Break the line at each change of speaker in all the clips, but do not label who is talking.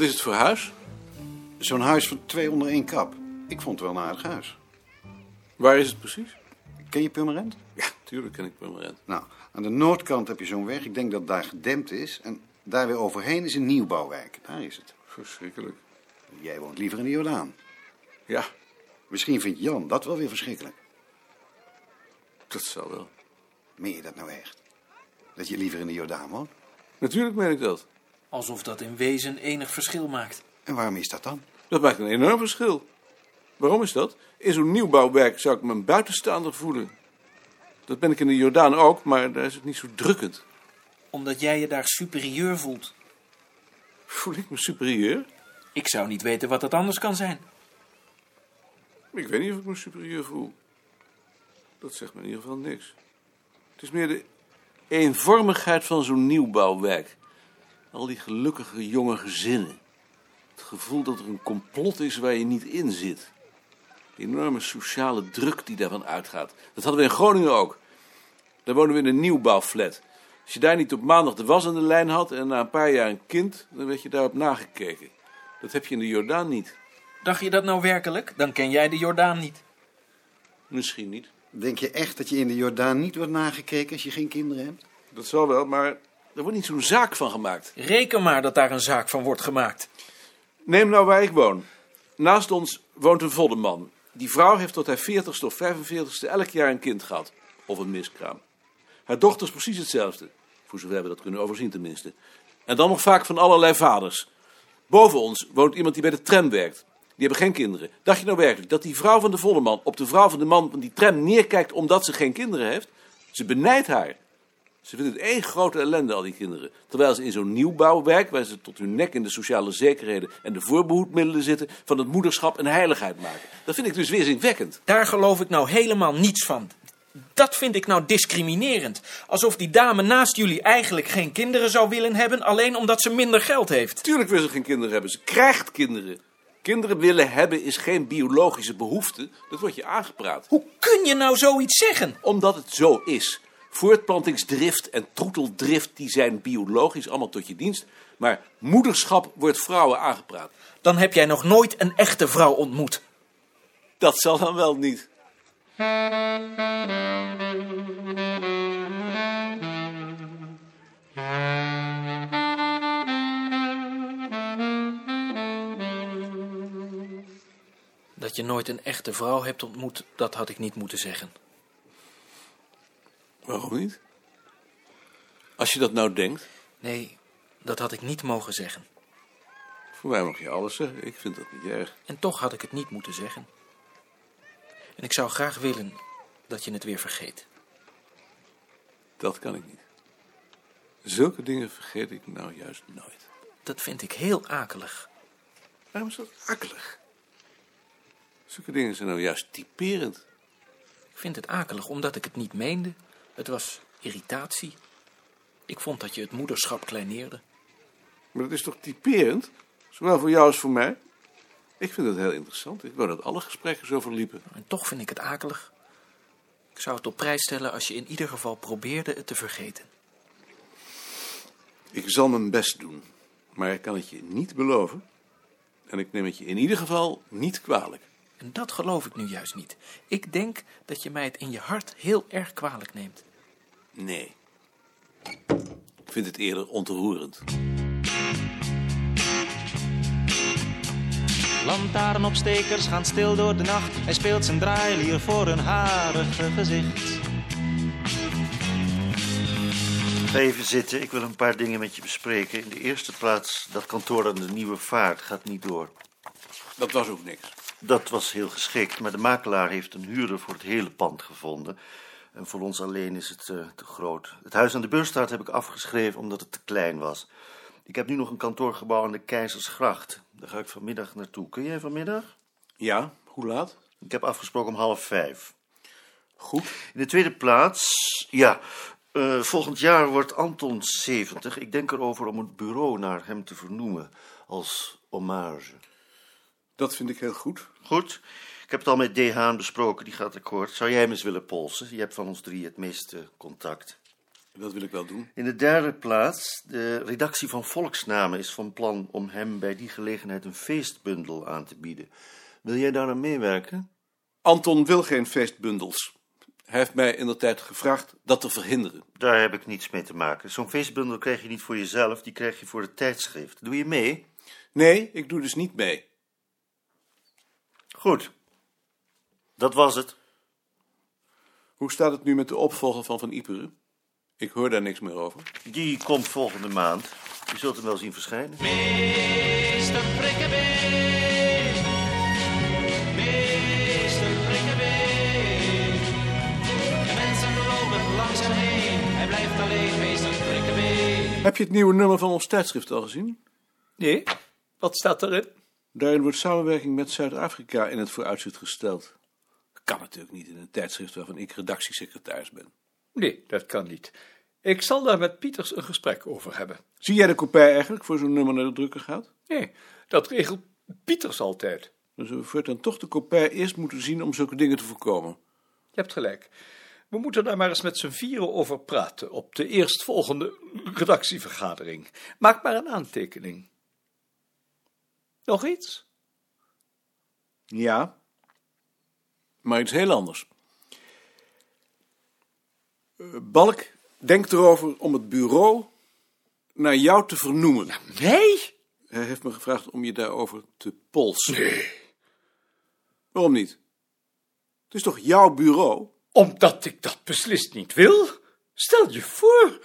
is het voor huis?
Zo'n huis van twee onder één kap. Ik vond het wel een aardig huis.
Waar is het precies?
Ken je Purmerend?
Ja, tuurlijk ken ik Purmerend.
Nou, aan de noordkant heb je zo'n weg. Ik denk dat daar gedempt is. En daar weer overheen is een nieuwbouwwijk. Daar is het.
Verschrikkelijk.
Jij woont liever in de Jordaan.
Ja,
Misschien vindt Jan dat wel weer verschrikkelijk.
dat zal wel.
Meen je dat nou echt? Dat je liever in de Jordaan woont?
Natuurlijk meen ik dat.
Alsof dat in wezen enig verschil maakt.
En waarom is dat dan?
Dat maakt een enorm verschil. Waarom is dat? In zo'n nieuwbouwwerk zou ik me een buitenstaander voelen. Dat ben ik in de Jordaan ook, maar daar is het niet zo drukkend.
Omdat jij je daar superieur voelt.
Voel ik me superieur?
Ik zou niet weten wat dat anders kan zijn.
Ik weet niet of ik me superieur voel. Dat zegt me in ieder geval niks. Het is meer de eenvormigheid van zo'n nieuwbouwwijk. Al die gelukkige jonge gezinnen. Het gevoel dat er een complot is waar je niet in zit. De enorme sociale druk die daarvan uitgaat. Dat hadden we in Groningen ook. Daar wonen we in een nieuwbouwflat. Als je daar niet op maandag de was aan de lijn had en na een paar jaar een kind, dan werd je daarop nagekeken. Dat heb je in de Jordaan niet.
Dacht je dat nou werkelijk? Dan ken jij de Jordaan niet.
Misschien niet.
Denk je echt dat je in de Jordaan niet wordt nagekeken als je geen kinderen hebt?
Dat zal wel, maar er wordt niet zo'n zaak van gemaakt.
Reken maar dat daar een zaak van wordt gemaakt.
Neem nou waar ik woon. Naast ons woont een voddenman. Die vrouw heeft tot haar 40ste of 45ste elk jaar een kind gehad. Of een miskraam. Haar dochter is precies hetzelfde. Voor zover we dat kunnen overzien tenminste. En dan nog vaak van allerlei vaders. Boven ons woont iemand die bij de tram werkt. Die hebben geen kinderen. Dacht je nou werkelijk dat die vrouw van de voddenman op de vrouw van de man van die tram neerkijkt omdat ze geen kinderen heeft? Ze benijdt haar. Ze vinden het één grote ellende, al die kinderen. Terwijl ze in zo'n nieuwbouwwerk, waar ze tot hun nek in de sociale zekerheden en de voorbehoedmiddelen zitten, van het moederschap een heiligheid maken. Dat vind ik dus weerzinwekkend.
Daar geloof ik nou helemaal niets van. Dat vind ik nou discriminerend. Alsof die dame naast jullie eigenlijk geen kinderen zou willen hebben, alleen omdat ze minder geld heeft.
Tuurlijk wil ze geen kinderen hebben, ze krijgt kinderen. Kinderen willen hebben is geen biologische behoefte, dat wordt je aangepraat.
Hoe kun je nou zoiets zeggen?
Omdat het zo is. Voortplantingsdrift en troeteldrift die zijn biologisch allemaal tot je dienst, maar moederschap wordt vrouwen aangepraat.
Dan heb jij nog nooit een echte vrouw ontmoet.
Dat zal dan wel niet.
Dat je nooit een echte vrouw hebt ontmoet, dat had ik niet moeten zeggen.
Waarom niet? Als je dat nou denkt,
Nee, dat had ik niet mogen zeggen.
voor mij mag je alles zeggen. Ik vind dat niet erg.
En toch had ik het niet moeten zeggen. En ik zou graag willen dat je het weer vergeet.
Dat kan ik niet. Zulke dingen vergeet ik nou juist nooit.
Dat vind ik heel akelig.
Waarom is dat akelig? Zulke dingen zijn nou juist typerend.
Ik vind het akelig omdat ik het niet meende. Het was irritatie. Ik vond dat je het moederschap kleineerde.
Maar dat is toch typerend? Zowel voor jou als voor mij? Ik vind dat heel interessant. Ik wou dat alle gesprekken zo verliepen.
En toch vind ik het akelig. Ik zou het op prijs stellen als je in ieder geval probeerde het te vergeten.
Ik zal mijn best doen, maar ik kan het je niet beloven. En ik neem het je in ieder geval niet kwalijk.
En dat geloof ik nu juist niet. Ik denk dat je mij het in je hart heel erg kwalijk neemt.
Nee. Ik vind het eerder ontroerend.
Lantaarnopstekers gaan stil door de nacht. Hij speelt zijn draailier voor een harige gezicht.
Even zitten, ik wil een paar dingen met je bespreken. In de eerste plaats, dat kantoor aan de Nieuwe Vaart gaat niet door.
Dat was ook niks.
Dat was heel geschikt, maar de makelaar heeft een huurder voor het hele pand gevonden. En voor ons alleen is het eh, te groot. Het huis aan de Beurstraat heb ik afgeschreven omdat het te klein was. Ik heb nu nog een kantoorgebouw aan de Keizersgracht. Daar ga ik vanmiddag naartoe. Kun jij vanmiddag?
Ja, hoe laat?
Ik heb afgesproken om half vijf.
Goed.
In de tweede plaats, ja, eh, volgend jaar wordt Anton 70. Ik denk erover om het bureau naar hem te vernoemen als hommage.
Dat vind ik heel goed.
Goed, ik heb het al met D. Haan besproken, die gaat akkoord. Zou jij hem eens willen polsen? Je hebt van ons drie het meeste contact.
Dat wil ik wel doen.
In de derde plaats, de redactie van Volksnamen is van plan om hem bij die gelegenheid een feestbundel aan te bieden. Wil jij daar aan meewerken?
Anton wil geen feestbundels. Hij heeft mij in de tijd gevraagd dat te verhinderen.
Daar heb ik niets mee te maken. Zo'n feestbundel krijg je niet voor jezelf, die krijg je voor het tijdschrift. Doe je mee?
Nee, ik doe dus niet mee.
Goed. Dat was het.
Hoe staat het nu met de opvolger van Van Iperen? Ik hoor daar niks meer over.
Die komt volgende maand. Je zult hem wel zien verschijnen.
Meester Prikkebeen. Meester Prikkebeen. De mensen lopen langs hem heen. Hij blijft alleen meester Prikkebeen.
Heb je het nieuwe nummer van ons tijdschrift al gezien?
Nee? Wat staat erin?
Daarin wordt samenwerking met Zuid-Afrika in het vooruitzicht gesteld. Dat kan natuurlijk niet in een tijdschrift waarvan ik redactiesecretaris ben.
Nee, dat kan niet. Ik zal daar met Pieters een gesprek over hebben.
Zie jij de kopij eigenlijk voor zo'n nummer naar de drukker gaat?
Nee, dat regelt Pieters altijd.
Dan zullen we voortaan toch de kopij eerst moeten zien om zulke dingen te voorkomen.
Je hebt gelijk. We moeten daar maar eens met z'n vieren over praten op de eerstvolgende redactievergadering. Maak maar een aantekening. Nog iets?
Ja. Maar iets heel anders. Eh, Balk, denk erover om het bureau naar jou te vernoemen.
Nee!
Hij heeft me gevraagd om je daarover te polsen. Nee. Waarom niet? Het is toch jouw bureau?
Omdat ik dat beslist niet wil. Stel je voor,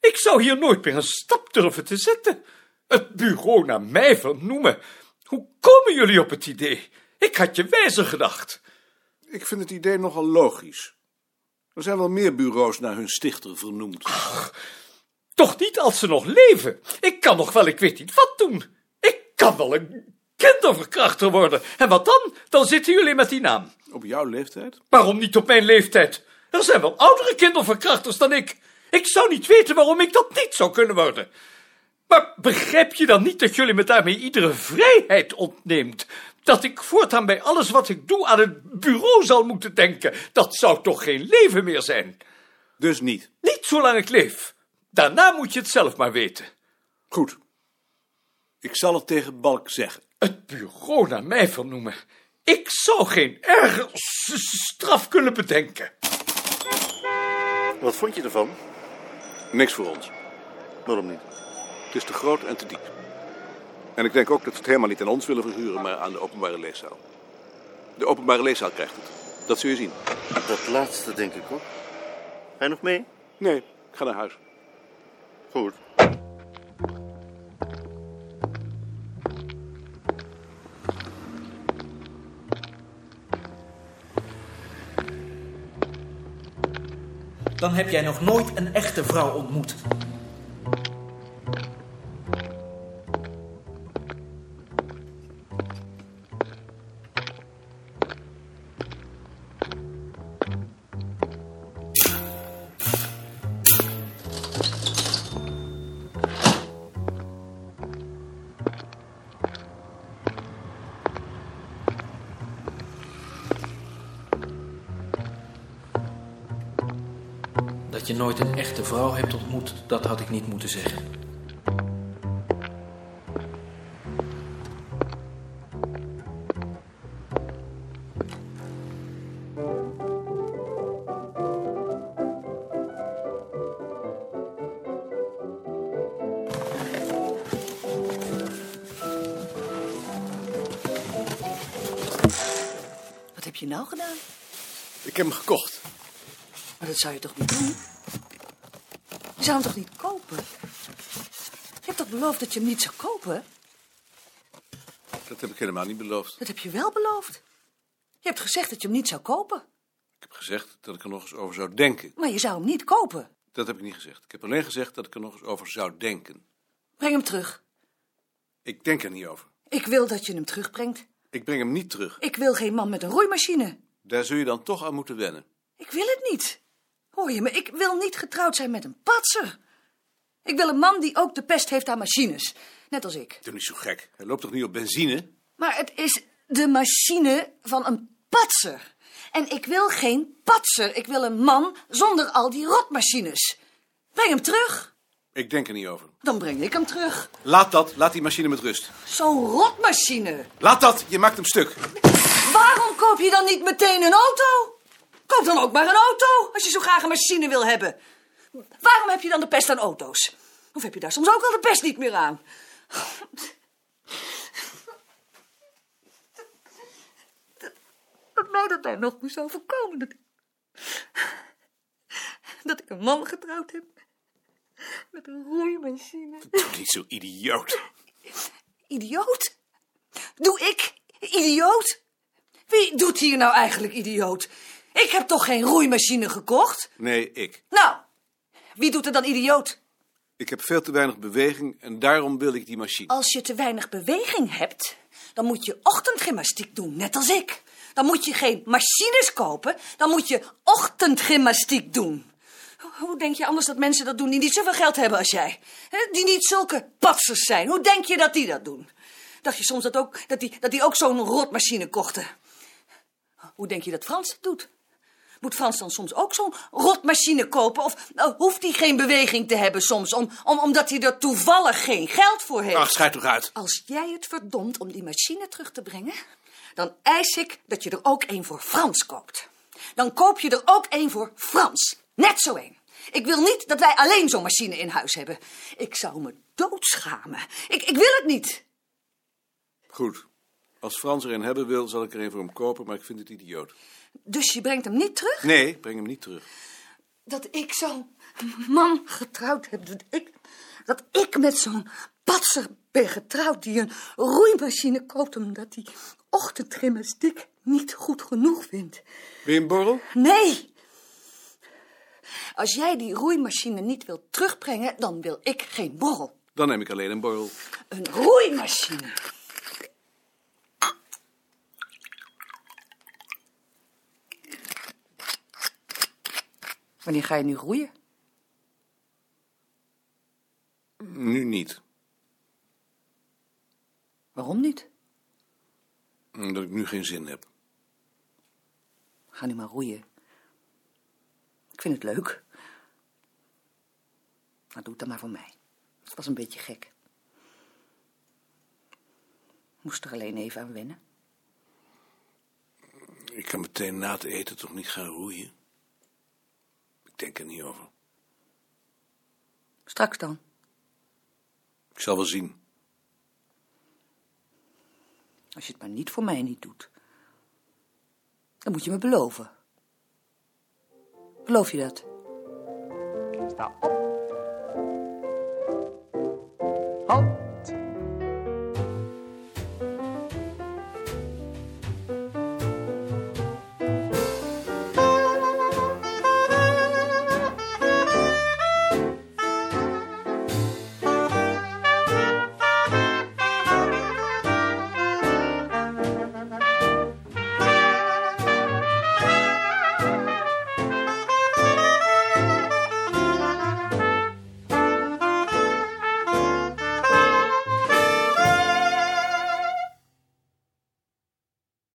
ik zou hier nooit meer een stap durven te zetten. Het bureau naar mij vernoemen. Hoe komen jullie op het idee? Ik had je wijzer gedacht.
Ik vind het idee nogal logisch. Er zijn wel meer bureaus naar hun stichter vernoemd.
Toch niet als ze nog leven. Ik kan nog wel, ik weet niet wat doen. Ik kan wel een kinderverkrachter worden. En wat dan? Dan zitten jullie met die naam.
Op jouw leeftijd?
Waarom niet op mijn leeftijd? Er zijn wel oudere kinderverkrachters dan ik. Ik zou niet weten waarom ik dat niet zou kunnen worden. Maar begrijp je dan niet dat jullie me daarmee iedere vrijheid ontneemt? Dat ik voortaan bij alles wat ik doe aan het bureau zal moeten denken. Dat zou toch geen leven meer zijn?
Dus niet.
Niet zolang ik leef. Daarna moet je het zelf maar weten.
Goed. Ik zal het tegen Balk zeggen.
Het bureau naar mij vernoemen. Ik zou geen erger s- s- straf kunnen bedenken.
Wat vond je ervan?
Niks voor ons.
Waarom niet?
Het is te groot en te diep. En ik denk ook dat ze het helemaal niet aan ons willen verhuren, maar aan de openbare leeszaal. De openbare leeszaal krijgt het. Dat zul je zien.
Dat laatste denk ik ook. Hij nog mee?
Nee, ik ga naar huis.
Goed.
Dan heb jij nog nooit een echte vrouw ontmoet. Dat je nooit een echte vrouw hebt ontmoet, dat had ik niet moeten zeggen.
Wat heb je nou gedaan?
Ik heb hem gekocht.
Maar dat zou je toch niet doen? Je zou hem toch niet kopen? Je hebt toch beloofd dat je hem niet zou kopen?
Dat heb ik helemaal niet beloofd.
Dat heb je wel beloofd. Je hebt gezegd dat je hem niet zou kopen.
Ik heb gezegd dat ik er nog eens over zou denken.
Maar je zou hem niet kopen.
Dat heb ik niet gezegd. Ik heb alleen gezegd dat ik er nog eens over zou denken.
Breng hem terug.
Ik denk er niet over.
Ik wil dat je hem terugbrengt.
Ik breng hem niet terug.
Ik wil geen man met een roeimachine.
Daar zul je dan toch aan moeten wennen.
Ik wil het niet. Hoor je me? Ik wil niet getrouwd zijn met een patser. Ik wil een man die ook de pest heeft aan machines. Net als ik.
Doe niet zo gek. Hij loopt toch niet op benzine?
Maar het is de machine van een patser. En ik wil geen patser. Ik wil een man zonder al die rotmachines. Breng hem terug.
Ik denk er niet over.
Dan breng ik hem terug.
Laat dat, laat die machine met rust.
Zo'n rotmachine.
Laat dat, je maakt hem stuk.
Waarom koop je dan niet meteen een auto? Koop dan ook maar een auto, als je zo graag een machine wil hebben. Waarom heb je dan de pest aan auto's? Of heb je daar soms ook al de pest niet meer aan? Dat mij dat nou nog moest overkomen. Dat, dat ik een man getrouwd heb. Met een roeimachine.
Doe niet zo idioot.
Idioot? Doe ik idioot? Wie doet hier nou eigenlijk idioot? Ik heb toch geen roeimachine gekocht?
Nee, ik.
Nou, wie doet er dan idioot?
Ik heb veel te weinig beweging en daarom wil ik die machine.
Als je te weinig beweging hebt, dan moet je ochtendgymnastiek doen, net als ik. Dan moet je geen machines kopen, dan moet je ochtendgymnastiek doen. Ho- Hoe denk je anders dat mensen dat doen die niet zoveel geld hebben als jij? Hè, Die niet zulke patsers zijn. Hoe denk je dat die dat doen? Dacht je soms dat, ook, dat, die, dat die ook zo'n rotmachine kochten? Hoe denk je dat Frans het doet? Moet Frans dan soms ook zo'n rotmachine kopen? Of eh, hoeft hij geen beweging te hebben soms, om, om, omdat hij er toevallig geen geld voor heeft?
Ach, schijt toch uit.
Als jij het verdomt om die machine terug te brengen, dan eis ik dat je er ook een voor Frans koopt. Dan koop je er ook een voor Frans. Net zo een. Ik wil niet dat wij alleen zo'n machine in huis hebben. Ik zou me doodschamen. Ik, ik wil het niet.
Goed. Als Frans er een hebben wil, zal ik er een voor hem kopen, maar ik vind het idioot.
Dus je brengt hem niet terug?
Nee, breng hem niet terug.
Dat ik zo'n man getrouwd heb. Dat ik, dat ik met zo'n patser ben getrouwd die een roeimachine koopt omdat hij ochtendgymnastiek niet goed genoeg vindt.
Wil je een borrel?
Nee! Als jij die roeimachine niet wilt terugbrengen, dan wil ik geen borrel.
Dan neem ik alleen een borrel.
Een roeimachine. Wanneer ga je nu roeien?
Nu niet.
Waarom niet?
Omdat ik nu geen zin heb.
Ga nu maar roeien. Ik vind het leuk. Nou, doe het dan maar voor mij. Het was een beetje gek. Moest er alleen even aan wennen.
Ik kan meteen na het eten toch niet gaan roeien? Ik denk er niet over.
Straks dan.
Ik zal wel zien.
Als je het maar niet voor mij niet doet, dan moet je me beloven. Beloof je dat?
Sta op. Hop.